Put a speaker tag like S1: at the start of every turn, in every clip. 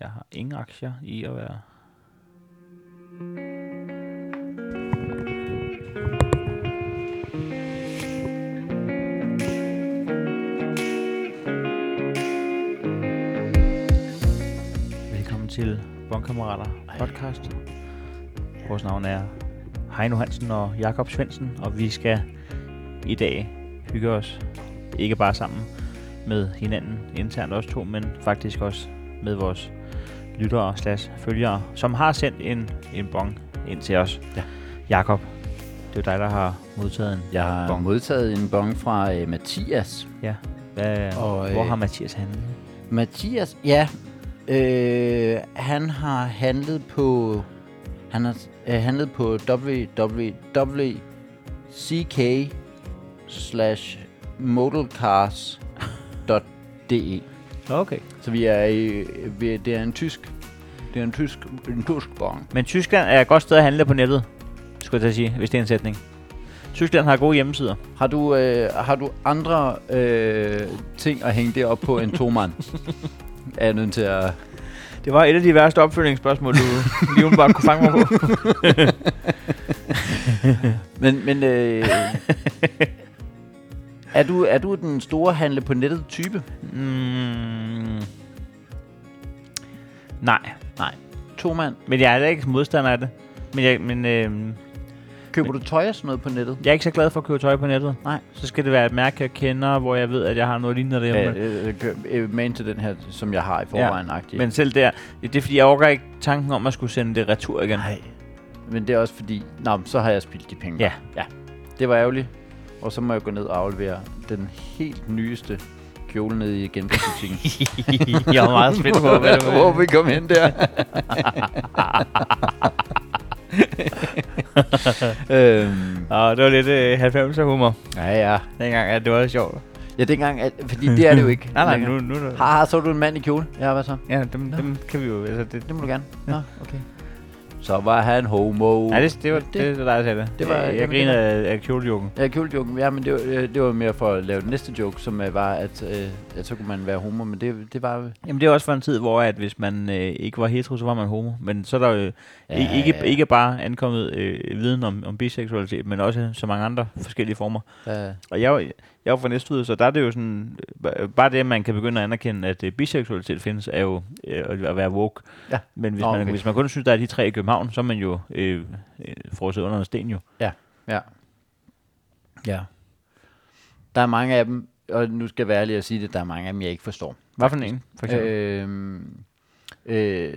S1: Jeg har ingen aktier i at være... Velkommen til Bonkammerater podcast. Vores navn er Heino Hansen og Jakob Svendsen, og vi skal i dag hygge os ikke bare sammen med hinanden internt os to, men faktisk også med vores lyttere slash følgere, som har sendt en, en bong ind til os.
S2: Ja.
S1: Jakob, det er jo dig, der har modtaget en
S2: Jeg har
S1: Bong.
S2: bong. modtaget en bong fra øh, Mathias.
S1: Ja. Hvad, og,
S2: Og,
S1: hvor
S2: øh,
S1: har Mathias handlet?
S2: Mathias, ja, øh, han har handlet på han har øh, handlet på www.ck slash modelcars.de
S1: Okay.
S2: E. Så vi er i, vi, det er en tysk det er en tysk, en tysk bong.
S1: Men Tyskland er et godt sted at handle på nettet, skulle jeg til at sige, hvis det er en sætning. Tyskland har gode hjemmesider.
S2: Har du, øh, har du andre øh, ting at hænge det op på end to mand? er jeg nødt til at...
S1: Det var et af de værste opfølgningsspørgsmål, du lige bare kunne fange mig på.
S2: Men, men øh, er, du, er du den store handle på nettet type?
S1: Mm. Nej, nej.
S2: To mand.
S1: Men jeg er heller ikke modstander af det. Men, jeg, men øh,
S2: Køber du tøj og sådan noget på nettet?
S1: jeg er ikke så glad for at købe tøj på nettet.
S2: Nej.
S1: Så skal det være et mærke, jeg kender, hvor jeg ved, at jeg har noget lignende derhjemme. Ja,
S2: Øh, øh, kø- øh, man til den her, som jeg har i forvejen. Ja,
S1: men selv der, det er fordi, jeg overgår ikke tanken om, at jeg skulle sende det retur igen.
S2: Nej. Men det er også fordi, nå, men så har jeg spildt de penge.
S1: Ja.
S2: ja. Det var ærgerligt. Og så må jeg gå ned og aflevere den helt nyeste kjole nede i genbrugsbutikken.
S1: jeg var meget spændt på, hvad det var.
S2: Hvor vi kom hen der. øhm,
S1: Og det var lidt øh, 90'er humor,
S2: ja, ja.
S1: dengang, at det var sjovt.
S2: Ja, dengang, at, fordi det er det jo ikke.
S1: Nej, nej,
S2: længere.
S1: nu... nu, nu.
S2: Haha, så er du en mand i kjole. Ja, hvad så?
S1: Ja, dem, dem kan vi jo... Altså, det,
S2: Det må du gerne. Nå, okay. Så var han homo.
S1: nej, det, det var det,
S2: det-
S1: det, var dig, der sagde det. Øh,
S2: det var-
S1: jeg, jeg
S2: jamen, det
S1: griner af, af kjolejoken.
S2: Ja, kjolejoken. Ja, men det var, øh, det var mere for at lave den næste joke, som øh, var, at, øh, at så kunne man være homo, men det, det var... øh,
S1: Jamen det er også for en tid, hvor at hvis man øh, ikke var hetero, så var man homo. Men så er der jo ja,
S2: Ja,
S1: ikke, ikke,
S2: ja.
S1: ikke bare ankommet øh, viden om, om biseksualitet, men også så mange andre forskellige former.
S2: Øh,
S1: Og jeg, er jo- jeg er jo fra Næstved, så der er det jo sådan, øh, bare det, at man kan begynde at anerkende, at øh, biseksualitet findes, er jo øh, at være woke.
S2: Ja.
S1: Men hvis,
S2: Nå,
S1: man,
S2: okay.
S1: hvis man kun synes, der er de tre i København, så er man jo øh, øh, frosset under en sten jo.
S2: ja. Ja. Der er mange af dem, og nu skal jeg være ærlig at sige det, der er mange af dem, jeg ikke forstår.
S1: Hvad for en, for eksempel? Øh,
S2: Øhm, øh,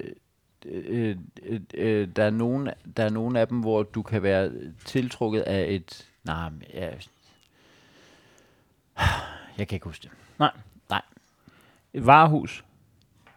S2: øh, øh, øh, der, er nogen, der er nogen af dem, hvor du kan være tiltrukket af et... Nej, men jeg, jeg kan ikke huske det. Øh,
S1: Varehus.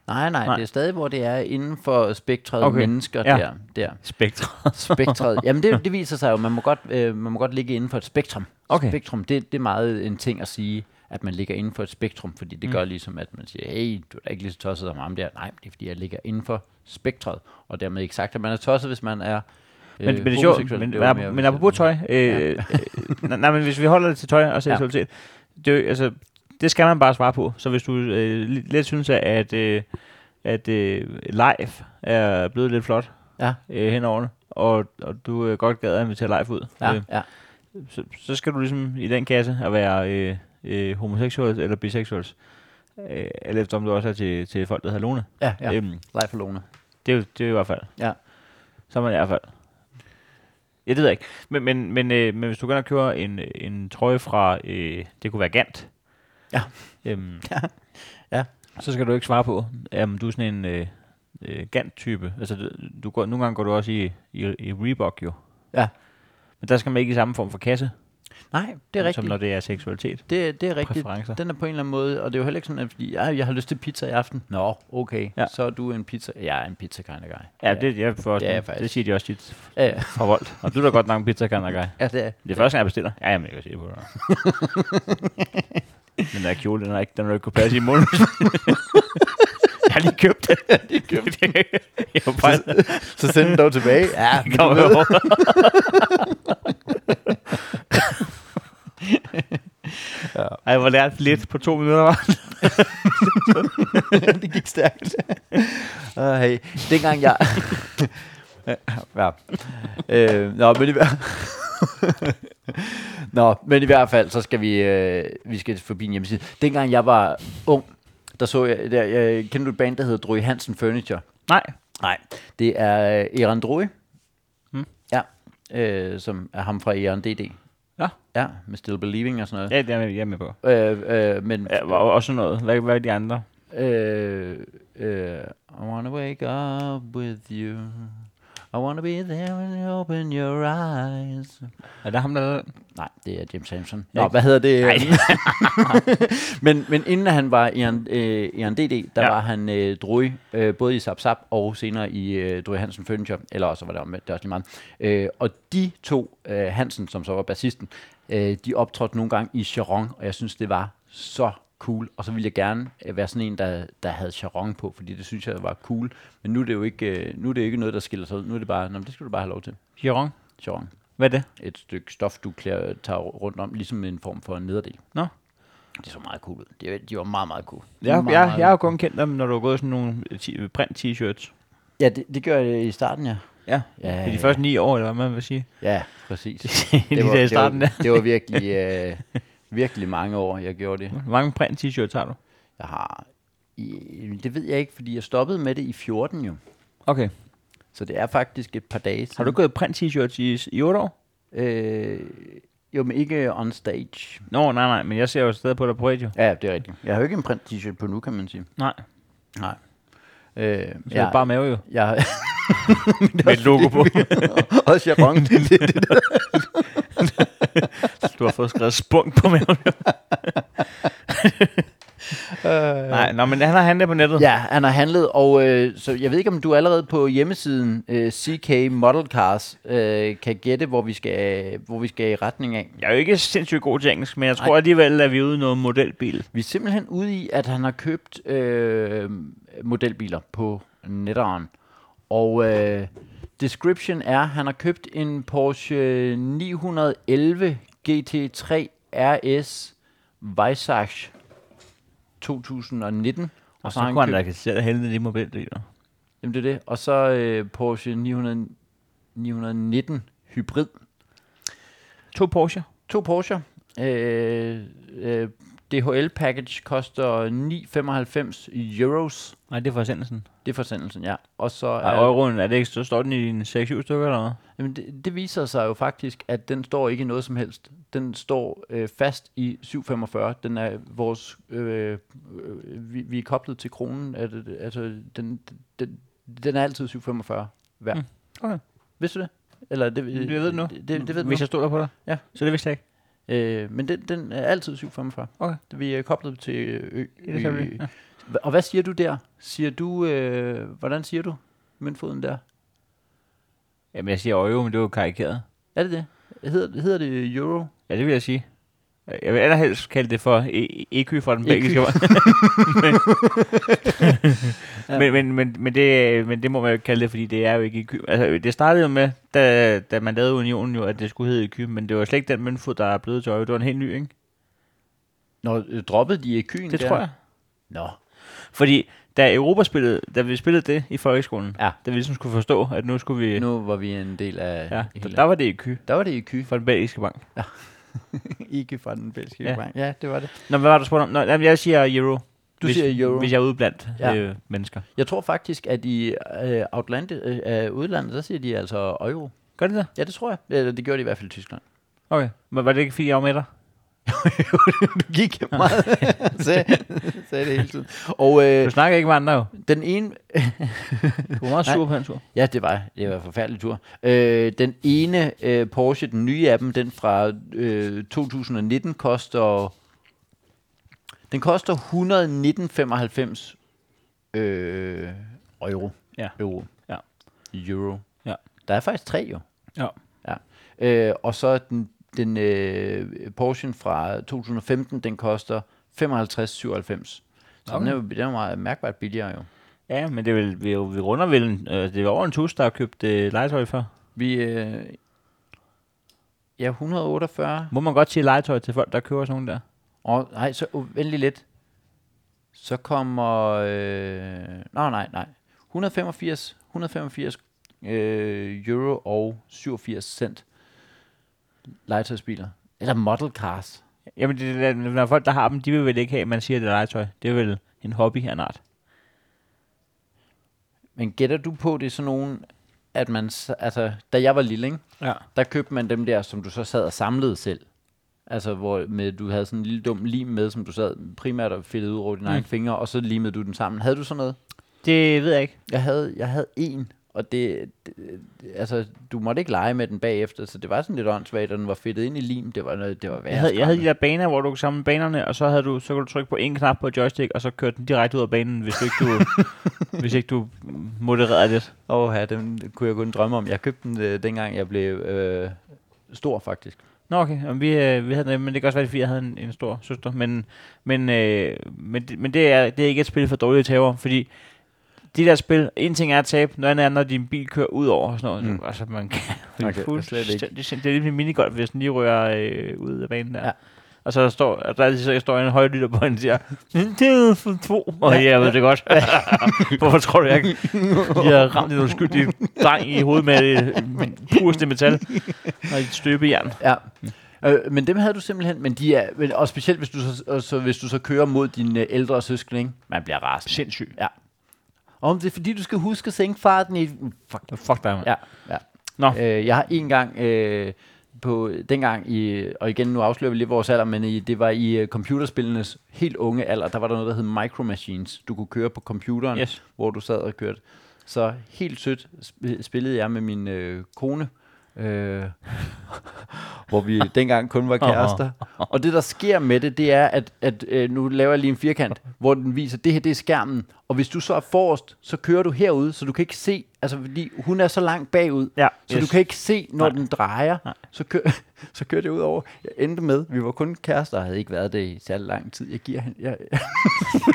S2: Nej, nej,
S1: Nej.
S2: nej, det er stadig, hvor det er inden for spektret
S1: Okay,
S2: okay. mennesker
S1: ja.
S2: ja. der. der.
S1: Spektret.
S2: Spektret. Jamen, det, det viser sig jo, man må godt, øh, man må godt ligge inden for et spektrum.
S1: Okay.
S2: Spektrum, det, det er meget en ting at sige, at man ligger inden for et spektrum, fordi
S1: Mm.
S2: det mm. gør ligesom, at man siger, hey, du er da ikke lige så tosset som ham der. Nej, det er fordi, jeg ligger inden for spektret, og dermed ikke sagt, at man er tosset, hvis man er øh,
S1: Men, men det er sjovt,
S2: homoseksuel.
S1: men,
S2: Det var
S1: men,
S2: mere-
S1: men apropos tøj, øh,
S2: Ja.
S1: øh, nej, nej, men hvis vi holder det til tøj og seksualitet, det, er jo- altså, det skal man bare svare på. Så hvis du øh, li- lidt synes, at, øh, at øh, live er blevet lidt flot
S2: Ja.
S1: øh, hen årene, og, og du øh, godt gad at invitere live ud,
S2: Ja,
S1: øh,
S2: ja.
S1: så, så skal du ligesom i den kasse at være øh, øh, homoseksuel eller biseksuel. Øh, eller efter om du også er til, til folk, der hedder Lone.
S2: Ja, ja.
S1: Øhm,
S2: Leif og Lone.
S1: det er jo det er jo i hvert fald.
S2: Ja.
S1: Så er man i hvert fald. Ja, det ved jeg ikke. Men, men, men, øh, men hvis du går ind og køber en, øh, en trøje fra, øh, det kunne være Gant.
S2: Ja.
S1: Øhm,
S2: Ja. Ja.
S1: Så skal du ikke svare på, om du er sådan en øh, øh, Gant-type. Altså, du- du går, nogle gange går du også i, i, i Reebok jo.
S2: Ja.
S1: Men der skal man ikke i samme form for kasse,
S2: Nej, det er
S1: som
S2: rigtigt.
S1: når det er seksualitet.
S2: Det, det er rigtigt.
S1: Præferencer.
S2: Den er på en eller anden måde, og det er jo heller ikke sådan, at fordi, "Ej, jeg har lyst til pizza i aften. Nå, okay,
S1: Ja.
S2: ja. så er du en pizza. Jeg er en pizza kind of guy.
S1: Ja, det, jeg for,
S2: Det er jeg
S1: det,
S2: faktisk.
S1: det siger de også tit
S2: Ja, ja.
S1: fra Volt. Og du er da godt nok en pizza kan guy.
S2: ja det er.
S1: Det er første gang, jeg bestiller. Ja, jamen, jeg kan se på dig. Men den der kjole, den er ikke, den er ikke kunne passe i munden. jeg har lige købt den. Jeg har lige købt den. jeg har bare
S2: Så send den dog tilbage. Ja, men du
S1: kommet
S2: ved.
S1: over. Ej, hvor lærte lidt på to minutter.
S2: det gik stærkt. Uh, hey. Dengang jeg... ja. Øh, nå, men i hver... nå, men i hvert fald, så skal vi, øh, vi skal forbi en hjemmeside. Dengang jeg var ung, der så jeg... Der, jeg kender du et band, der hedder Drøy Hansen Furniture?
S1: Nej.
S2: Nej. Det er øh, Eran Drøy.
S1: Mm.
S2: Ja. Øh, som er ham fra Eran DD.
S1: Ja.
S2: Ja, med Still Believing og sådan noget.
S1: Ja, det er jeg, jeg er med på.
S2: Øh, øh, men
S1: Ja, og også noget. Hvad, hvad er de andre?
S2: Uh, uh, I wanna wake up with you. I wanna be there when you open your eyes.
S1: Er det ham, der lavede den?
S2: Nej, det er James Sampson.
S1: Ja.
S2: Nå, hvad hedder det?
S1: Nej.
S2: men, men inden han var i en, øh, i en DD, der
S1: Ja.
S2: ja. var han øh, Drøy, øh, både i Zap Zap og senere i øh, Drøy Hansen Furniture, eller også var det omvendt, det er også lige meget. Øh, og de to, øh, Hansen, som så var bassisten, øh, de optrådte nogle gange i Charon, og jeg synes, det var så cool. Og så ville jeg gerne øh, være sådan en, der, der havde Charon på, fordi det synes jeg var cool. Men nu er det jo ikke, øh, nu er det jo ikke noget, der skiller sig ud. Nu er det bare, nå, men det skal du bare have lov til.
S1: Chiron?
S2: Charon
S1: Hvad er det?
S2: et stykke stof, du klæder, tager rundt om, ligesom en form for en nederdel.
S1: Nå.
S2: Det så meget cool ud. De, de var meget, meget cool. De var
S1: Jeg,
S2: meget,
S1: jeg,
S2: meget-
S1: jeg har jo kun kendt dem, når du har gået i sådan nogle ti- print-t-shirts.
S2: Ja, det, det gjorde jeg i starten, ja.
S1: Ja.
S2: Ja,
S1: I de
S2: ja.
S1: første ni år, eller hvad man vil sige.
S2: Ja, præcis.
S1: Lige der i starten
S2: det
S1: der.
S2: var, det var virkelig, øh, virkelig mange år, jeg gjorde det.
S1: Hvor mange print-t-shirts har du?
S2: Jeg har... I, det ved jeg ikke, fordi jeg stoppede med det i 14 jo.
S1: Okay.
S2: Så det er faktisk et par dage siden.
S1: Har du gået i print-t-shirts i, i 8 år?
S2: Øh, jo, men ikke on stage.
S1: Nå, nej, nej, men jeg ser jo stadig på dig på radio.
S2: Ja, det er rigtigt. Jeg har jo ikke en print t-shirt på nu, kan man sige.
S1: Nej,
S2: Nej. Øh,
S1: så ja. er det bare mave jo.
S2: jeg,
S1: Med et logo på.
S2: og Sharon. Det, det, det,
S1: du har fået skrevet spunk på maven. nej, nå, men han har handlet på nettet.
S2: ja, han har handlet, og øh, så jeg ved ikke, om du allerede på hjemmesiden øh, CK Model Cars øh, kan gætte, hvor vi, skal, hvor vi skal i retning af.
S1: Jeg er jo ikke sindssygt god til engelsk, men jeg tror alligevel, at vi er ude i noget modelbil.
S2: Vi er simpelthen ude i, at han har købt øh, modelbiler på netteren. Og øh, description er, at han har købt en Porsche 911 GT3 RS Weissach 2019.
S1: Og så
S2: har
S1: kunne han da kassere helvede de modelbiler.
S2: Jamen det er det. Og så øh, Porsche 900, 919 hybrid.
S1: To Porsche.
S2: To Porsche. Øh, øh, DHL package koster 9,95 euros.
S1: Nej, det er forsendelsen.
S2: Det er forsendelsen, ja. Og så
S1: Og
S2: er,
S1: euroen, er det ikke, så står den i dine 6-7 stykker eller hvad?
S2: jamen det, det viser sig jo faktisk, at den står ikke i noget som helst. Den står øh, fast i 7,45. Den er vores... Øh, øh, vi, vi er koblet til kronen. At, altså, den, den, den er altid 7,45 værd.
S1: Mm, okay.
S2: Vidste du det? Eller det,
S1: Jeg ved det nu. Mm.
S2: Det, det, det ved du
S1: Hvis
S2: nu.
S1: jeg stod der på dig?
S2: Ja.
S1: Så det vidste jeg ikke.
S2: Øh, men den, den er altid 745.
S1: Okay.
S2: Vi er koblet til ø.
S1: Ja, det kan vi.
S2: ø- Hva- Og hvad siger du der? Siger du, øh, hvordan siger du møntfoden der?
S1: Jamen, jeg siger øje, men det er jo karikeret.
S2: Er det det? Hedder, hedder det euro?
S1: Ja, det vil jeg sige. Jeg vil allerhelst kalde det for e- EQ fra den
S2: EQ.
S1: belgiske vej. men, men, men, men, men, det, men det må man jo ikke kalde det, fordi det er jo ikke EQ. Altså, det startede jo med, da, da man lavede unionen jo, at det skulle hedde EQ, men det var slet ikke den møntfod, der er blevet til øje. Det var en helt ny, ikke?
S2: Nå, øh, droppede de kyen
S1: Det
S2: der?
S1: tror jeg.
S2: Nå.
S1: Fordi da Europa spillede, da vi spillede det i folkeskolen,
S2: Ja.
S1: da vi ligesom skulle forstå, at nu skulle vi...
S2: Nu var vi en del af...
S1: ja, der,
S2: hele-
S1: der var det EQ
S2: der var det EQ.
S1: fra den belgiske bank.
S2: ikke fra den belgiske
S1: Ja.
S2: bank. Ja, det var det.
S1: Nå, hvad var du spurgt om? Nå, jamen, jeg siger euro.
S2: Du
S1: hvis,
S2: siger euro.
S1: Hvis jeg er ude blandt
S2: Ja.
S1: ja. øh, mennesker.
S2: Jeg tror faktisk, at i øh, Outland, øh, øh, udlandet, der siger de altså euro.
S1: Gør det det?
S2: Ja, det tror jeg. Eller det gjorde de i hvert fald i Tyskland.
S1: Okay. Men var det ikke, fordi jeg var med dig?
S2: du gik meget. sagde, sagde det hele tiden. Og øh,
S1: Du snakker ikke med andre jo.
S2: den ene...
S1: Du var meget
S2: Nej.
S1: sur på den tur.
S2: Ja, det var, det var en forfærdelig tur. Øh, den ene øh, Porsche, den nye af dem, den fra øh, 2019, koster... Den koster 119,95 øh, euro.
S1: Ja.
S2: Euro.
S1: Ja.
S2: Euro.
S1: Ja.
S2: Der er faktisk tre jo.
S1: Ja.
S2: ja. Øh, og så den, den øh, Porsche fra 2015, den koster 55,97. Så okay.
S1: Okay.
S2: den, er, jo- den er meget mærkbart billigere jo.
S1: Ja, men det er vel, vi, er jo- vi runder vel, en- øh, det er over en tus, der har købt øh, legetøj før.
S2: Vi, øh, ja, 148.
S1: Må man godt sige legetøj til folk, der køber sådan nogle der?
S2: Og, nej, så uh, venlig lidt. Så kommer... Øh, nej, nej, nej. 185, 185 øh, euro og 87 cent legetøjsbiler. Eller model cars.
S1: Jamen, det, det, når folk, der har dem, de vil vel ikke have, at man siger, at det er legetøj. Det er vel en hobby af en art.
S2: Men gætter du på, det er sådan nogen, at man, s- altså, da jeg var lille, ikke?
S1: Ja.
S2: der købte man dem der, som du så sad og samlede selv. Altså, hvor med, du havde sådan en lille dum lim med, som du sad primært og fedtede ud over dine mm. egne fingre, og så limede du den sammen. Havde du sådan noget?
S1: Det ved jeg ikke.
S2: Jeg havde, jeg havde en, og det, det, det- altså, du måtte ikke lege med den bagefter, så det var sådan lidt åndssvagt, og den var fedtet ind i lim, det var noget, det var værre.
S1: Jeg havde, jeg havde de der baner, hvor du kunne samle banerne, og så, havde du, så kunne du trykke på en knap på et joystick, og så kørte den direkte ud af banen, hvis du ikke du, hvis ikke du modererede lidt.
S2: Åh, ja, den kunne jeg kun drømme om. Jeg købte den, øh, dengang jeg blev øh, stor, faktisk.
S1: Nå okay, Jamen, vi, øh, vi havde, den- men det kan også være, fordi jeg havde en, en stor søster. Men, men, øh, men, det- men det, er, det er ikke et spil for dårlige taber, fordi de der spil, en ting er at tabe, noget andet er, når din bil kører ud over og sådan noget.
S2: Mm.
S1: Mm. Altså, man kan
S2: Man kan slet ikke.
S1: fuldstændig- Det, er lidt en minigolf, hvis den lige rører øh, ud af banen der.
S2: Ja.
S1: Ja. Og så står, og der er lige så jeg står en højlytter på, og han siger, Nintendo for to. Og ja, jeg ved det godt. Hvorfor tror du, jeg ikke? Jeg har ramt en uskyldig dreng i hovedet med øh, pureste metal og et støbejern.
S2: Ja. Øh, men dem havde du simpelthen, men de er, men- og specielt hvis du så, og så, hvis du så kører mod dine øh, ældre søskende, ikke? man bliver rasende.
S1: Sindssyg.
S2: Ja. Om det er fordi, du skal huske at sænke farten i... Mm, Fuck.
S1: Fuck dig, mand.
S2: Ja, ja.
S1: Nå.
S2: Øh, jeg har en gang øh, på dengang i, og igen nu afslører vi lidt vores alder, men i, det var i øh, computerspillenes helt unge alder, der var der noget, der hed Micro Machines. Du kunne køre på computeren,
S1: Yes.
S2: hvor du sad og kørte. Så helt sødt sp- spillede jeg med min øh, kone, øh, hvor vi dengang kun var kærester. Og det, der sker med det, det er, at, at øh, nu laver jeg lige en firkant, hvor den viser, det her det er skærmen, og hvis du så er forrest, så kører du herude, så du kan ikke se, altså fordi hun er så langt bagud,
S1: Ja,
S2: så yes.
S1: yes.
S2: du kan ikke se, når Nej.
S1: Nej.
S2: den drejer, så, kø, så kører det ud over. Jeg endte med, vi var kun kærester, og havde ikke været det i særlig lang tid. Jeg giver hende, jeg,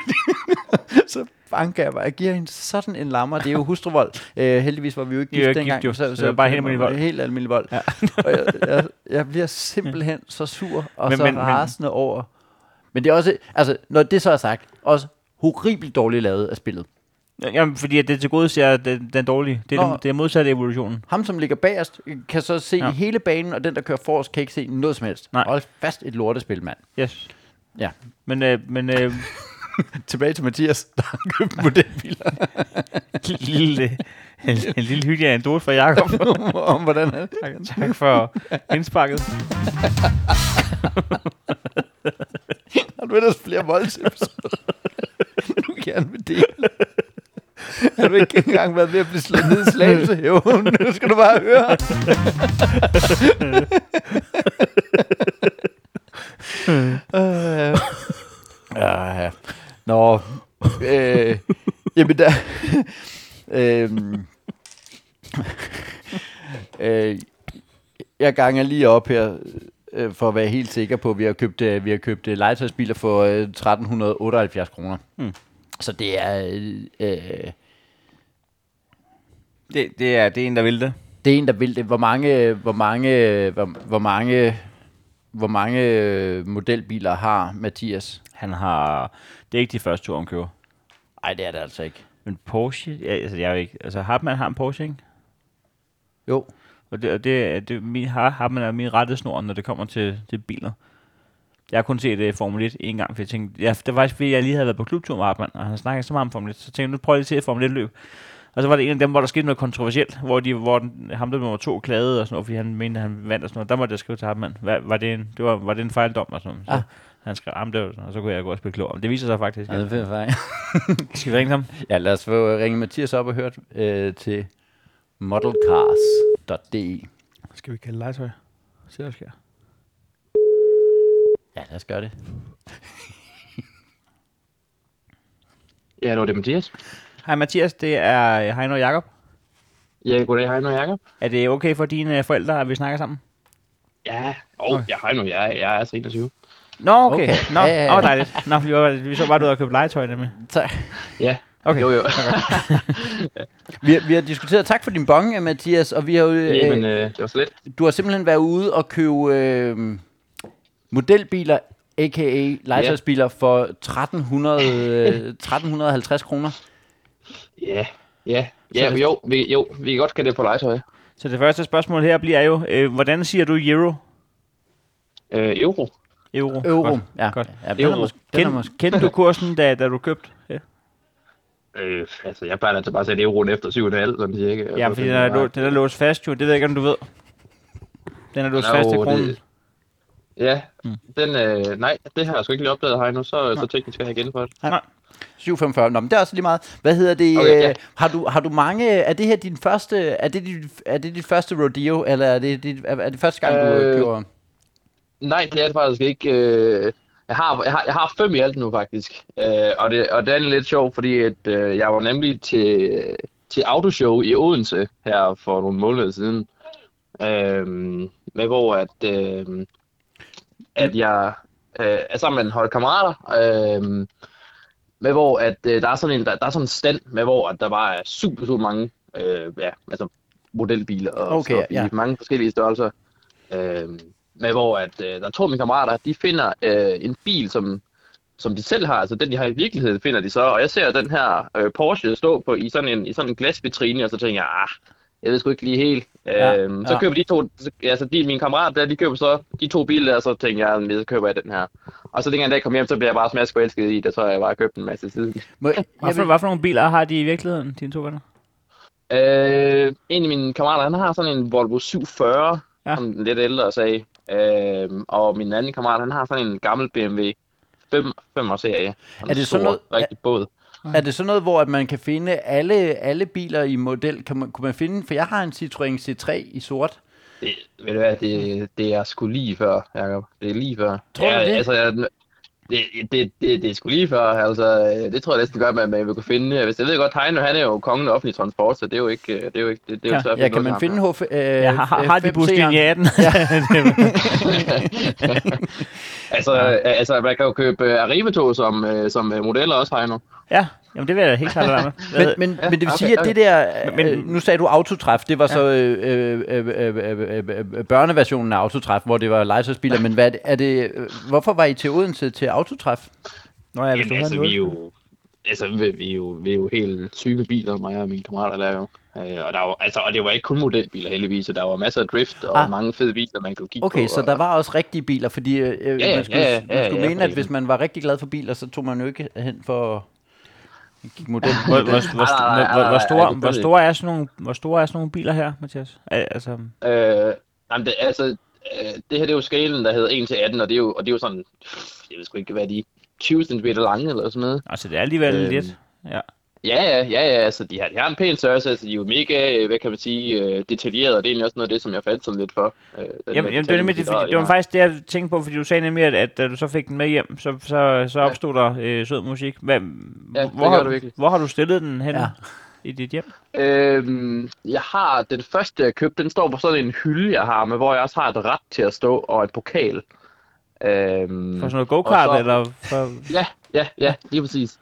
S2: så banker jeg bare, jeg giver hende sådan en lammer. Det er jo hustruvold. Øh, heldigvis var vi jo
S1: I
S2: ikke
S1: er
S2: gift
S1: jo ikke
S2: dengang.
S1: gift, jo. Så det var bare helt almindelig vold.
S2: Helt almindelig vold. Ja. og jeg, jeg, jeg, bliver simpelthen så sur og men,
S1: Men-
S2: så men,
S1: men- men-
S2: rasende over. Men det er også, altså, når det så er sagt, også horribelt dårligt lavet af spillet.
S1: Jamen, fordi at det til gode ser den, den dårlige. Det er,
S2: Nå.
S1: den, det er modsatte evolutionen.
S2: Ham, som ligger bagerst, kan så se ja.
S1: Ja.
S2: hele banen, og den, der kører forrest, kan ikke se noget som helst.
S1: Nej.
S2: Hold fast et lortespil, mand.
S1: Yes.
S2: Ja.
S1: Men, øh, men øh,
S2: Tilbage til Mathias, der har købt modelbiler,
S1: lille, en, en lille hyggelig anekdote fra Jacob.
S2: om hvordan han...
S1: tak for indsparket.
S2: Har du ellers flere voldsepisoder? du gerne vil dele. Har du ikke engang været ved at blive slået ned i slagelse? Jo, nu skal du bare høre. Øh. Ja, ja. Nå. Øh, jamen der... Øhm. øh, jeg ganger lige op her, øh, for at være helt sikker på, at vi har købt, øh, vi har købt øh, legetøjsbiler for øh, 1378 kroner. Mm. Så det er, øh, øh,
S1: Det, det, er, det er en, der vil det.
S2: det er en, der vil det. Hvor mange, øh, hvor mange, øh, hvor, hvor mange, hvor mange øh, modelbiler har Mathias?
S1: Han har... Det er ikke de første to, han køber.
S2: Nej, det er det altså ikke.
S1: Men Porsche... Ja, altså, jeg er jo ikke... Altså, Hartmann har en Porsche, ikke?
S2: Jo,
S1: Og det, og det, er- det er min, har, Hartmann er min rettesnor, når det kommer til, til biler. Jeg har kun set uh, Formel 1 en gang, for jeg tænkte, ja, det var faktisk fordi, jeg lige havde været på klubtur med Hartmann, og han snakkede så meget om Formel 1, så tænkte jeg, nu prøver jeg lige til et Formel 1 løb. Og så var det en af dem, hvor der skete noget kontroversielt, hvor, de, hvor den, ham der nummer to klagede og sådan noget, fordi han mente, at han vandt og sådan noget. Der måtte jeg skrive til Hartmann, hvad, var, det en, det var, var det en fejldom og sådan noget. Så
S2: Ah.
S1: han skrev, jamen det var, sådan, og så kunne jeg gå og spille klog. Men det viser sig faktisk.
S2: ja,
S1: at-
S2: det er fejl.
S1: Skal vi ringe til ham?
S2: Ja, lad os få øh, ringe Mathias op og høre øh, til modelcars.de.
S1: Skal vi kalde legetøj? Se, hvad der sker.
S2: Ja, lad os gøre det.
S3: Ja, hallo, det er Mathias.
S1: Hej Mathias, det er øh, Heino og Jakob.
S3: Ja, goddag, Heino og Jacob.
S1: Er det okay for dine øh, forældre, at vi snakker sammen?
S3: Ja, åh, oh, ja, Heino, jeg, jeg er altså 21.
S1: Nå, okay.
S2: Okay.
S1: okay. Nå,
S2: Ja, ja, ja.
S1: Åh, dejligt. Nå, vi, var, vi så bare ud og købe legetøj nemlig.
S2: Tak.
S3: Ja,
S1: Okay.
S3: jo, jo.
S2: Vi, har- vi har diskuteret, tak for din bong, øh, Mathias, og vi har, jo, øh,
S3: Jamen, øh, det var så lidt.
S2: du har simpelthen været ude og købe øh, modelbiler, a.k.a. legetøjsbiler, for 1300, øh, 1350 kroner.
S3: Ja, Ja, ja
S1: det-
S3: jo, vi, jo, vi kan godt kalde det på legetøj.
S1: Så det første spørgsmål her bliver jo, øh, hvordan siger du euro?
S3: Øh, euro.
S1: Euro.
S2: Euro.
S1: Godt.
S2: Ja.
S1: Godt.
S2: ja den er
S3: Euro.
S2: måske, den er
S1: Kend,
S2: måske,
S1: kendte du kursen, da, da du købte? Ja,
S3: Øh, altså, jeg plejer altså bare at sætte euroen efter 7,5, sådan cirka.
S1: ja
S3: Altså,
S1: fordi den
S3: det
S1: er,
S3: bare-
S1: lå- den er låst fast jo. Det ved jeg ikke, om du ved. Den er låst
S3: Der er
S1: fast til
S3: jo
S1: kronen.
S3: det- Ja,
S1: Mm.
S3: den, øh, nej, det har jeg sgu ikke lige opdaget her endnu, så, så teknisk skal jeg igen for det.
S2: 745. Nå, men det er også lige meget. Hvad hedder det?
S3: Okay, ja.
S2: Okay, har, du, har du mange... Er det her din første... Er det dit, er det dit første rodeo, eller er det, dit, er er det første gang, du øh,
S3: Øh,
S2: kører...
S3: Nej, det er det faktisk ikke. Øh, jeg, har, jeg, har, jeg har fem i alt nu, faktisk. Øh, og, det, og det er lidt sjovt, fordi at, øh, jeg var nemlig til, til autoshow i Odense her for nogle måneder siden. Øh, med hvor at, øh, at jeg øh, er sammen med en hold kammerater. Øh, med hvor at, øh, der, er sådan en, der, der er sådan en stand, med hvor at der bare er super, super mange øh, ja, altså modelbiler og
S2: Okay,
S3: stuff i
S2: ja.
S3: mange forskellige størrelser. Øh, med hvor at, øh, der er to af mine kammerater, de finder øh, en bil, som, som de selv har, altså den de har i virkeligheden, finder de så. Og jeg ser den her øh, Porsche stå på i sådan en, i sådan en glasvitrine, og så tænker jeg, ah, jeg ved sgu ikke lige helt.
S2: Ja,
S3: Ja, øhm, så
S2: ja.
S3: køber de to, så- altså de, mine kammerater der, de køber så de to biler, og så tænker jeg, "Men så køber jeg den her. Og så dengang jeg kom hjem, så blev jeg bare smask forelsket i det, og så har jeg bare købt en masse siden.
S2: Må, jeg, jeg
S1: Hvad for,
S2: vil,
S1: hvad for nogle biler har de i virkeligheden, dine to venner?
S3: Øh, en af mine kammerater, han har sådan en Volvo 740,
S1: Ja.
S3: ja. som den lidt ældre sag. Øh, og min anden kammerat, han har sådan en gammel BMW 5, 5 serie.
S2: Er det sådan noget-
S3: Rigtig båd.
S2: er det sådan noget, hvor at man kan finde alle, alle biler i model? Kan man, kunne man finde... For jeg har en Citroën C3 i sort.
S3: Det, ved du hvad, det, det er sgu lige før, Jacob. Det er lige før.
S2: Tror du
S3: ja,
S2: det?
S3: Altså, jeg, det, det, det, det er sgu lige før, altså, øh, det tror jeg næsten godt, man, man vil kunne finde. Hvis jeg ved godt, Heino, han er jo kongen af offentlig transport, så det er jo ikke, øh, det er jo ikke, det, det er jo
S1: Ja,
S3: svært at
S2: Ja, kan
S3: noget
S2: man
S3: til
S2: finde H... Øh,
S1: Ja, har, har de buslinje 18?
S3: ham. Altså, ja. altså, man kan jo købe øh, Arrivetog som, øh, som øh, modeller også, Heino.
S1: ja, jamen det vil jeg da helt klart være med. Hvad-
S2: Men, men, men det vil
S3: okay,
S2: sige, at det der...
S1: Men-
S2: øh, nu sagde du autotræf. Det var så øh, øh, øh, øh, øh, øh, øh, børneversionen af autotræf, hvor det var legetøjsbiler. Men hvad er det, er det, øh, hvorfor var I til Odense til autotræf?
S1: Nå ja, hvis du
S3: Jamen,
S1: har
S3: altså,
S1: en
S3: vi er
S1: nul.
S3: jo, altså, vi, vi, er jo, vi er jo helt syge biler, mig og mine kammerater der er jo. Øh, og, der var, altså, og det var ikke kun modelbiler heldigvis, så der var masser af drift og
S2: Ah.
S3: ah. mange fede biler, man kunne kigge
S2: Okay,
S3: på.
S2: så
S3: og-
S2: der var også rigtige biler, fordi øh,
S3: Ja, ja,
S2: man skulle,
S3: ja, ja,
S2: man
S3: ja,
S2: skulle
S3: ja,
S2: mene, at
S3: præcis.
S2: hvis man var rigtig glad for biler, så tog man jo ikke hen for at kigge model.
S1: Hvor, hvor, hvor,
S3: nej,
S1: hvor,
S3: nej,
S1: hvor, hvor,
S3: nej,
S1: store,
S3: det
S1: hvor
S3: gør vi
S1: store er sådan nogle, hvor store er sådan nogle biler her, Mathias? Al- Altså,
S3: Øh, jamen det, altså, øh, det her det er jo skalen, der hedder 1 til 18, og det er jo, og det er jo sådan, jeg ved sgu ikke, hvad de er, 20 cm lange eller sådan noget.
S1: altså det er alligevel
S3: Øhm,
S1: lidt. Ja.
S3: Ja, ja, ja, ja, altså de har, de har en pæn størrelse, altså de er jo mega, øh, hvad kan man sige, øh, detaljeret, og det er egentlig også noget af det, som jeg faldt sådan lidt for. Øh, den
S1: Jamen,
S3: her
S1: jamen, det, var nemlig, det,
S3: detalje, de
S1: det var
S3: har.
S1: faktisk det, jeg tænkte på, fordi du sagde nemlig, at, at da du så fik den med hjem, så, så, så opstod der øh, sød musik. Hvad,
S3: det
S1: hvor,
S3: gør
S1: har,
S3: det virkelig.
S1: hvor har du stillet den hen
S2: Ja.
S1: ja. i dit hjem?
S3: Øhm, jeg har den første, jeg købte, den står på sådan en hylde, jeg har, med hvor jeg også har et ret til at stå, og et pokal. Øhm,
S1: For sådan noget go-kart,
S3: Og så-
S1: eller for...
S3: Ja, ja, ja, lige præcis.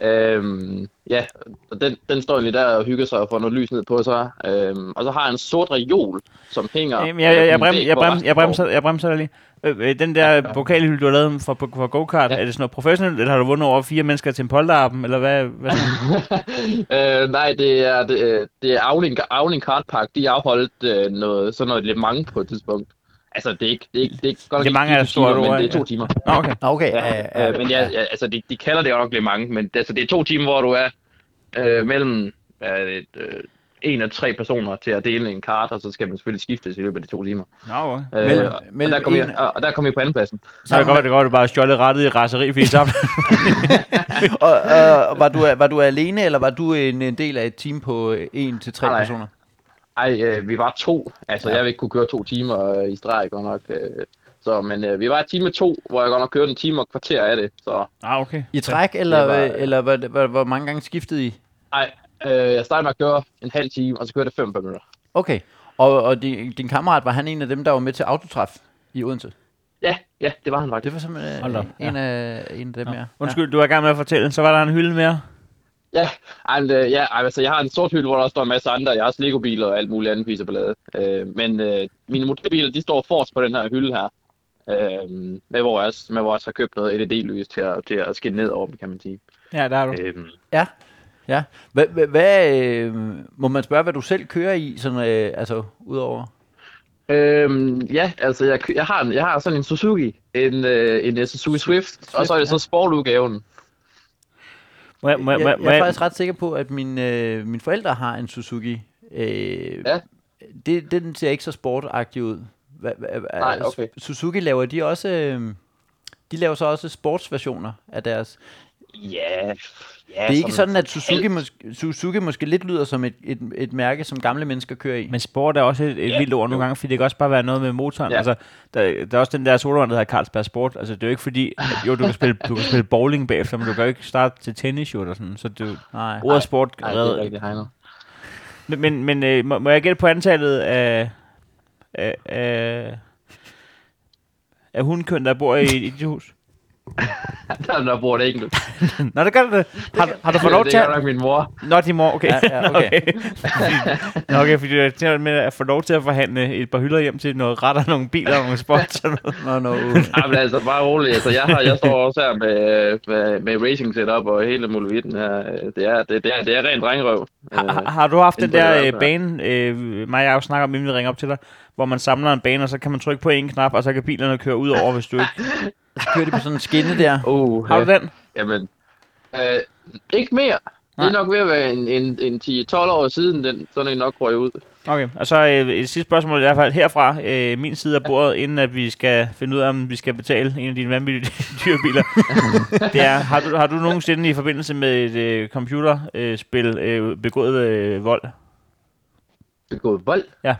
S3: Øhm, ja, og den, den står egentlig der og hygger sig og får noget lys ned på sig. Øhm, og så har jeg en sort reol, som hænger...
S1: Jamen, jeg, jeg, jeg,
S3: øh, på en
S1: brem,
S3: væg,
S1: jeg,
S3: hvor
S1: brem,
S3: resten
S1: jeg, bremser, jeg bremser dig lige. Øh, øh, den der ja. pokalhylde, du har lavet fra, fra go-kart, ja. er det sådan noget professionelt, eller har du vundet over fire mennesker til en polterappen, eller hvad? hvad
S3: står. øh, nej, det er, det, øh, det er Avling, Avling Kart Park. De har afholdt øh, noget, sådan noget Le Mans på et tidspunkt. Altså, det er ikke, det er ikke, det er ikke godt nok
S1: Le
S3: ikke
S1: Mans er
S3: fire
S1: et stort
S3: timer,
S1: ord,
S3: men det er
S1: ja.
S3: to timer.
S1: Nå, okay.
S2: Nå, Okay, ja,
S3: Ja,
S2: ja,
S3: øh, men ja, ja, altså, de, de kalder det jo nok Le Mans, men det, altså, det er to timer, hvor du er øh, mellem øh, øh, en og tre personer til at dele en kart, og så skal man selvfølgelig skiftes i løbet af de to timer.
S1: Nå, okay.
S3: Øh,
S2: Mellem-
S3: og,
S2: mellem
S3: og, der kom
S2: en-
S3: jeg, og, og der kom jeg på andenpladsen.
S1: Så kan det godt være, det godt, at du bare har stjålet rettet i raseri, fordi så...
S2: Og, og, og var, du, var du alene, eller var du en, en del af et team på øh, en til tre
S3: Nej, nej.
S2: personer?
S3: Ej, øh, vi var to. Altså, ja. jeg vil ikke kunne køre to timer øh, i streg, godt nok. Øh, så, men øh, vi var i time to, hvor jeg godt nok kørte en time og et kvarter af det. Så
S1: Ah, okay.
S2: I træk, eller,
S3: Det var-
S2: øh, eller hvor, hvor, hvor mange gange skiftede I?
S3: ej, øh, jeg startede med at køre en halv time, og så kørte jeg fem minutter.
S2: Okay, og, og din, din kammerat, var han en af dem, der var med til autotræf i Odense?
S3: Ja, ja, det var han faktisk.
S2: Det var simpelthen
S1: Hold
S2: øh,
S1: op,
S2: en, af, en af dem, ja.
S1: Undskyld, du var i gang med at fortælle, så var der en hylde mere.
S3: Ja, ej, men, øh, ja, ej, altså, jeg har en sort hylde, hvor der også står en masse andre. Jeg har også Lego-biler og alt muligt andet pisse ballade. Øh, men øh, mine modelbiler, de står forrest på den her hylde her. Øh, med, hvor jeg E også, med hvor jeg også har købt noget LED-lys til at, til at skinne ned over dem, kan man sige.
S1: Ja, der er du.
S3: Øh,
S2: Ja. Ja. Hvad, hvad, hvad øh, må man spørge, hvad du selv kører i, sådan, øh, altså udover?
S3: Øhm, ja, altså jeg, kø- jeg, har, en- jeg har sådan en Suzuki, en, øh, en øh, Suzuki Swift, og så er det så sportudgaven.
S1: Må jeg, må, jeg,
S2: Jeg,
S1: må, jeg, må,
S2: jeg er
S1: jeg,
S2: faktisk ret sikker på, at min, øh, mine forældre har en Suzuki. Øh,
S3: Ja.
S2: det, den ser ikke så sportagtig ud. Hva, hva, altså,
S3: Nej, okay.
S2: Suzuki laver de også... Øh, de laver så også sportsversioner af deres.
S3: Ja, ja
S2: det er ikke sådan, at Suzuki, måske, Suzuki måske lidt lyder som et, et, et mærke, som gamle mennesker kører i.
S1: men sport er også et, et
S3: Ja,
S1: vildt ord nogle gange, fordi det kan også bare være noget med motoren. Ja.
S3: Ja.
S1: Altså, der, der er også den der solvand, der hedder Carlsberg Sport. Altså, det er jo ikke fordi, at- jo, du kan spille, du kan spille bowling bagefter, men du kan jo ikke starte til tennis, jo, eller sådan. Så det,
S2: Nej.
S1: ordet sport
S3: Nej, det er
S1: redder-
S3: rigtigt, Heino.
S1: Men, men, men øh, må, må jeg gætte på antallet af, af, af, af hundkøn, der bor i, i dit hus?
S3: Der, der bor det enkelt.
S1: Nå, det gør det. Har, har du fået lov
S3: Det
S1: til
S3: er
S1: at...
S3: godt nok min mor.
S1: Nå, din mor, okay.
S2: Ja, ja, okay.
S1: Nå, okay, fordi jeg tænker med at få lov til at forhandle et par hylder hjem til noget ret og nogle biler og nogle sport. Sådan noget.
S2: Nå, no.
S3: Ej, men altså, bare rolig. Altså, jeg, har, jeg står også her med, med, med racing setup og hele muligheden her. Det er, det, det er, det er rent drengerøv.
S1: Har, har- har du haft den
S3: Den burde
S1: der
S3: være
S1: øh,
S3: der.
S1: bane, øh, mig og jeg snakker om, inden vi ringer op til dig, hvor man samler en bane, og så kan man trykke på en knap, og så kan bilerne køre ud over, hvis du ikke...
S2: Kører de på sådan en skinne der?
S3: Uh,
S1: Har du den?
S3: Jamen, øh, ikke mere. Det er nok ved at være en, en, en 10-12 år siden, den, sådan en nok røg ud.
S1: Okay, og så øh, et sidste spørgsmål i hvert fald herfra, øh, min side af bordet, inden at vi skal finde ud af, om vi skal betale en af dine vanvittige dyrebiler. det er, har du, har du nogensinde i forbindelse med et øh, computerspil øh, begået øh, vold?
S3: Begået vold?
S1: Ja.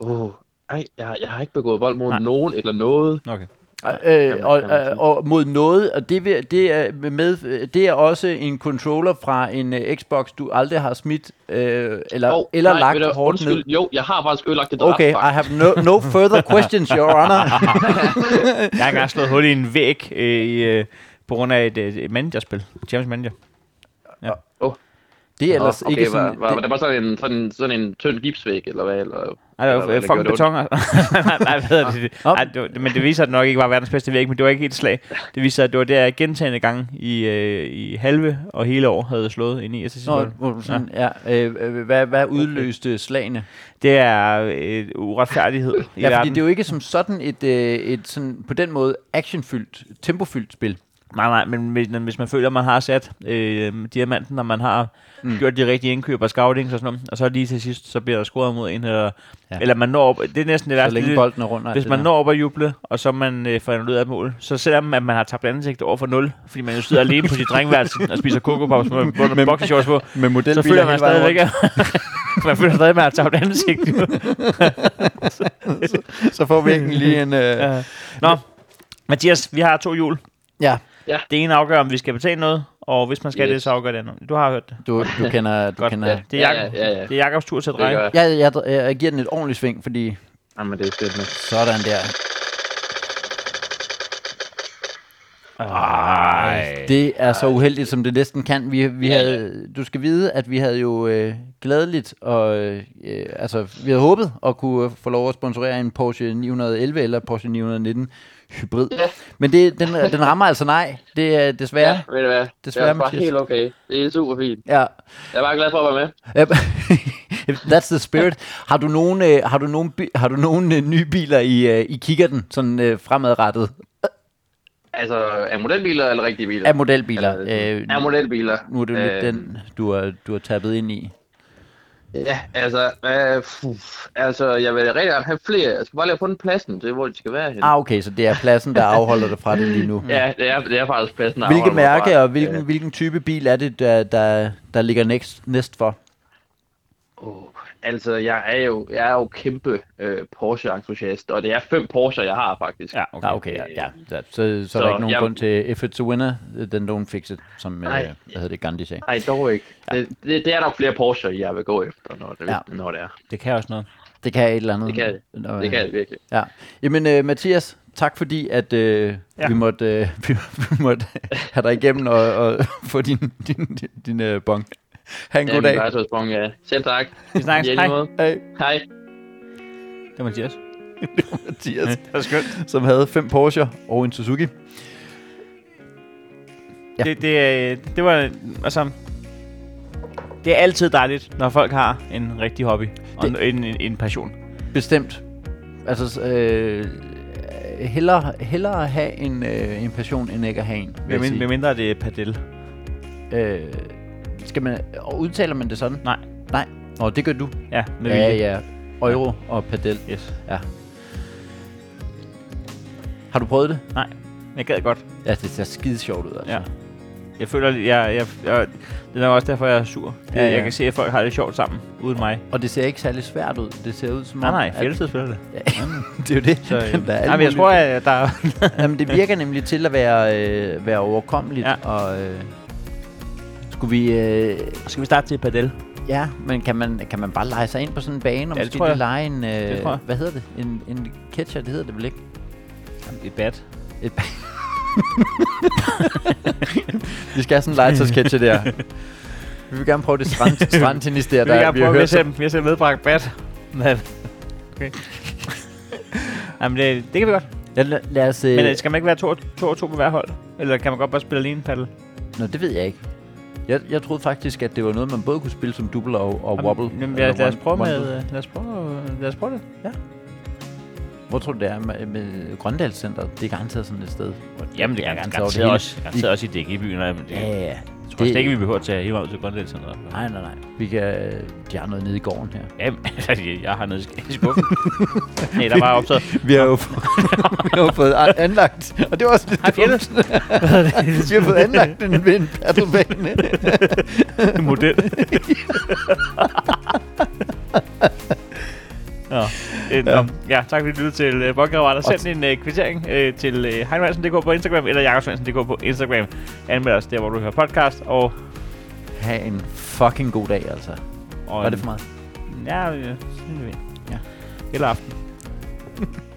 S3: Uh, ej, jeg, har- jeg har ikke begået vold mod
S1: Nej.
S3: Nej. nogen eller noget.
S1: Okay.
S2: Øh, og,
S3: kan man sige.
S2: og, og mod noget, og det, vil- det, er med, det er også en controller fra en uh, Xbox, du aldrig har smidt øh, eller, oh,
S3: Åh,
S2: eller
S3: nej,
S2: nej,
S3: ved du,
S2: lagt hårdt ned.
S3: undskyld, Jo, jeg har faktisk ødelagt et
S2: Okay, I
S3: ret, faktisk.
S2: have no, no further questions, your honor.
S1: Jeg har engang slået hul i en væg øh, i, øh, på grund af et, øh, et managerspil, James Manager.
S2: Det er ellers
S3: Nå, okay,
S2: ikke sådan...
S3: var, var, var,
S2: det,
S3: det bare sådan en, sådan, en- sådan en tynd gipsvæg, eller hvad? Eller,
S1: Ej, det var
S3: eller
S1: øh, fucking
S3: gjorde det ondt?
S1: beton. altså. nej, nej, hvad hedder det?
S2: Nå.
S1: Ej, det var, men det viser sig, at det nok ikke var verdens bedste væg, men det var ikke et slag. Det viser sig, at det var der jeg gentagende gange i, øh, i halve og hele år havde slået ind i. Og så siger
S2: Nå,
S1: man,
S2: hvor du sådan, ja. øh, øh, hvad, hvad udløste slagene?
S1: det er øh, uretfærdighed i
S2: Ja, fordi
S1: verden.
S2: det er jo ikke som sådan et, øh, et sådan, på den måde actionfyldt, tempofyldt spil.
S1: Nej, nej, men hvis, men hvis man føler, at man har sat øh, diamanten, og man har mm. gjort de rigtige indkøb og scouting og sådan noget, og så lige til sidst, så bliver der scoret mod en, eller, ja.
S2: Ja.
S1: eller man når op, det er næsten det
S2: Så
S1: værste.
S2: længe
S1: Altså, det-
S2: bolden er rundt. og alt
S1: Hvis
S2: det
S1: man
S2: der.
S1: når op at juble, og så man øh, får en ud af et mål, så selvom at man har tabt ansigt over for 0, fordi man jo sidder alene på sit drengværelse og spiser kokopops med, med boxershorts på,
S2: med
S1: så
S2: modelbiler
S1: føler man
S2: hele vejen
S1: stadigvæk, man føler stadig, at man har tabt ansigt.
S2: rundt, så får vi ikke lige en... Øh,
S1: Ja. Nå, Mathias, vi har to hjul.
S2: ja,
S1: Det ene afgør, om vi skal betale noget, og hvis man skal
S3: Yes.
S1: det, så afgør det andet. Du har hørt det.
S2: du, du kender... Du
S1: Godt.
S2: kender
S1: Ja. Det, er
S3: Ja,
S1: Jacob,
S3: ja, ja, ja.
S1: det er Jakobs tur til at
S3: Det gør
S1: dreje.
S3: jeg.
S2: Jeg, jeg, jeg, jeg giver den et ordentligt sving, fordi
S3: Jamen, det er fedt med.
S2: sådan der.
S1: Ah.
S3: Ah,
S1: Ej.
S2: Det er så uheldigt, som det næsten kan. Vi, vi
S3: Ja, ja.
S2: havde, du skal vide, at vi havde jo øh, glædeligt, og øh, altså, vi havde håbet at kunne øh, få lov at sponsorere en Porsche 911 eller Porsche 919 hybrid.
S3: Ja.
S2: Men det, den, den rammer altså nej. Det er desværre.
S3: Ja, ved du hvad?
S2: Desværre,
S3: det er bare
S2: Mathias.
S3: helt okay. Det er super fint.
S2: Ja.
S3: Jeg er bare glad for at være med.
S2: Yep. That's the spirit. Har du nogen, øh, har du nogen, bi- har du nogen øh, nye biler i, øh, i kikkerten, sådan øh, fremadrettet?
S3: Altså, er modelbiler eller rigtige biler?
S2: Af modelbiler.
S3: Øh, er modelbiler.
S2: Nu er det jo lidt
S3: Øh,
S2: den, du har, du har tappet ind i.
S3: Ja, altså, øh, fuh, altså, jeg vil rigtig gerne have flere. Jeg skal bare lige have fundet pladsen til, hvor de skal være henne.
S2: Ah, okay, så det er pladsen, der afholder dig fra det lige nu.
S3: Ja, det er, det er faktisk pladsen. der
S2: Hvilke
S3: afholder mig
S2: mærke
S3: fra.
S2: og hvilken,
S3: Øh,
S2: hvilken type bil er det, der, der, der ligger næst, næst for?
S3: åh, altså, jeg er jo, jeg er jo kæmpe øh, Porsche-entusiast, og det er fem Porsche, jeg har faktisk.
S1: Ja,
S2: Okay. Ah, okay, ja, ja. Så, så, så er
S3: Så,
S2: der ikke nogen
S3: jeg-
S2: grund til if it's a winner, then don't fix it, som øh,
S3: Nej.
S2: hvad hedder det, Gandhi sagde.
S3: Ej, dog ikke. Det, det, det, er nok flere Porsche, jeg vil gå efter, når det,
S2: Ja.
S3: ja. når det er.
S1: Det kan også noget.
S2: Det kan et eller andet.
S3: Det kan det.
S2: Nå,
S3: Det
S2: øh,
S3: kan jeg virkelig.
S2: Ja. Jamen, øh, Mathias, tak fordi, at øh,
S1: Ja.
S2: ja. vi, måtte, øh, vi, vi måtte have dig igennem og, og få din, din, din, din øh, bong. Ha' en god
S3: Jamen,
S2: dag.
S3: bare så sprung, ja. Selv tak.
S1: Vi snakkes.
S3: Ja, i lige
S1: Hej.
S3: måde.
S2: Hej,
S3: Hej.
S1: Det var Mathias.
S2: Mathias.
S1: Det var skønt.
S2: som havde fem Porsche og en Suzuki.
S1: Ja. Det, det, øh, det var, altså, Det er altid dejligt, når folk har en rigtig hobby og en, en, en, en passion.
S2: Bestemt. Altså, øh, hellere, hellere have en, øh, en passion, end ikke at have en. Vil jeg
S1: Med,
S2: sige.
S1: med mindre det er padel.
S2: Øh, skal man, og udtaler man det sådan?
S1: Nej.
S2: Nej. Nå, det gør du.
S1: Ja, med
S2: ja,
S1: vilje.
S2: ja. Euro og padel.
S1: Yes.
S2: Ja. Har du prøvet det?
S1: Nej, men jeg gad godt.
S2: Ja, det ser skide sjovt ud, altså.
S1: Ja. Jeg føler, jeg, jeg, jeg, det er nok også derfor, jeg er sur. Det,
S2: Ja,
S1: ja,
S2: ja.
S1: ja. Jeg kan se, at folk har det sjovt sammen, uden mig.
S2: Og det ser ikke særlig svært ud. Det ser ud som
S1: Nej,
S2: om...
S1: nej,
S2: at-
S1: Fjeldsted spiller det.
S2: Ja, det er jo det.
S1: Så, øh,
S2: Der er
S1: nej,
S2: alle
S1: men jeg
S2: mulige-
S1: tror, at der er...
S2: Jamen, det virker nemlig til at være, øh, være overkommeligt.
S1: Ja.
S2: Og, øh, skulle vi... Øh,
S1: Skal vi starte til padel?
S2: ja, men kan man, kan man bare lege sig ind på sådan en bane? Og
S1: Ja, det
S2: måske
S1: tror
S2: lige
S1: jeg.
S2: lege en... Øh,
S1: tror jeg.
S2: hvad hedder det? En, en catcher, det hedder det vel ikke?
S1: Et bat.
S2: Et vi skal have sådan en legetøjsketcher der. Vi vil gerne prøve det strand, strandtennis der,
S1: Jeg vil
S2: der
S1: gerne
S2: vi har
S1: prøve,
S2: hørt.
S1: hvis
S2: så-
S1: jeg, hvis jeg medbragt bat. Men, okay. Jamen, det, det kan vi godt.
S2: Ja, lad, lad os, øh,
S1: Men øh, skal man ikke være to, og- to og to på hver hold? Eller kan man godt bare spille alene paddle?
S2: Nå, det ved jeg ikke. Jeg, jeg troede faktisk, at det var noget, man både kunne spille som double og, og wobble.
S1: Jamen,
S2: eller
S1: lad, lad, os
S2: one-
S1: prøve
S2: one-
S1: med, øh, lad, os prøve, øh, lad os prøve det.
S2: Hvor tror du, det er med, med Grøndalscenteret? Det er garanteret sådan et sted. hvor-
S1: Jamen, det
S2: Ja,
S1: kan jeg
S2: over det
S1: garanteret
S2: hele.
S1: også, garanteret også i DG i byen. og- Men det,
S2: Ja, ja, ja.
S1: jeg tror slet ikke, vi behøver at tage hele vejen ud til Grønland Center.
S2: Nej, nej, nej. Vi kan, de har noget nede i gården her.
S1: Jamen, altså, jeg har noget i sk- i skuffen. Nej, der var optaget.
S2: Vi har jo, vi har jo fået an- anlagt, og det var også lidt
S1: Hej, Fjellet.
S2: Vi har fået anlagt en, en paddlebane.
S1: model. Nå. Øh, ja. ja, tak fordi du lyttede til uh, Bonkerabatter. Send en uh, kvittering uh, til uh, heinvandsen.dk på Instagram, eller jakobsvendsen.dk på Instagram. Anmeld os der, hvor du hører podcast, og...
S2: ha' en fucking god dag, altså.
S1: og
S2: Var det for meget?
S1: Ja, øh, sådan er det.
S2: Ja.
S1: Eller aften.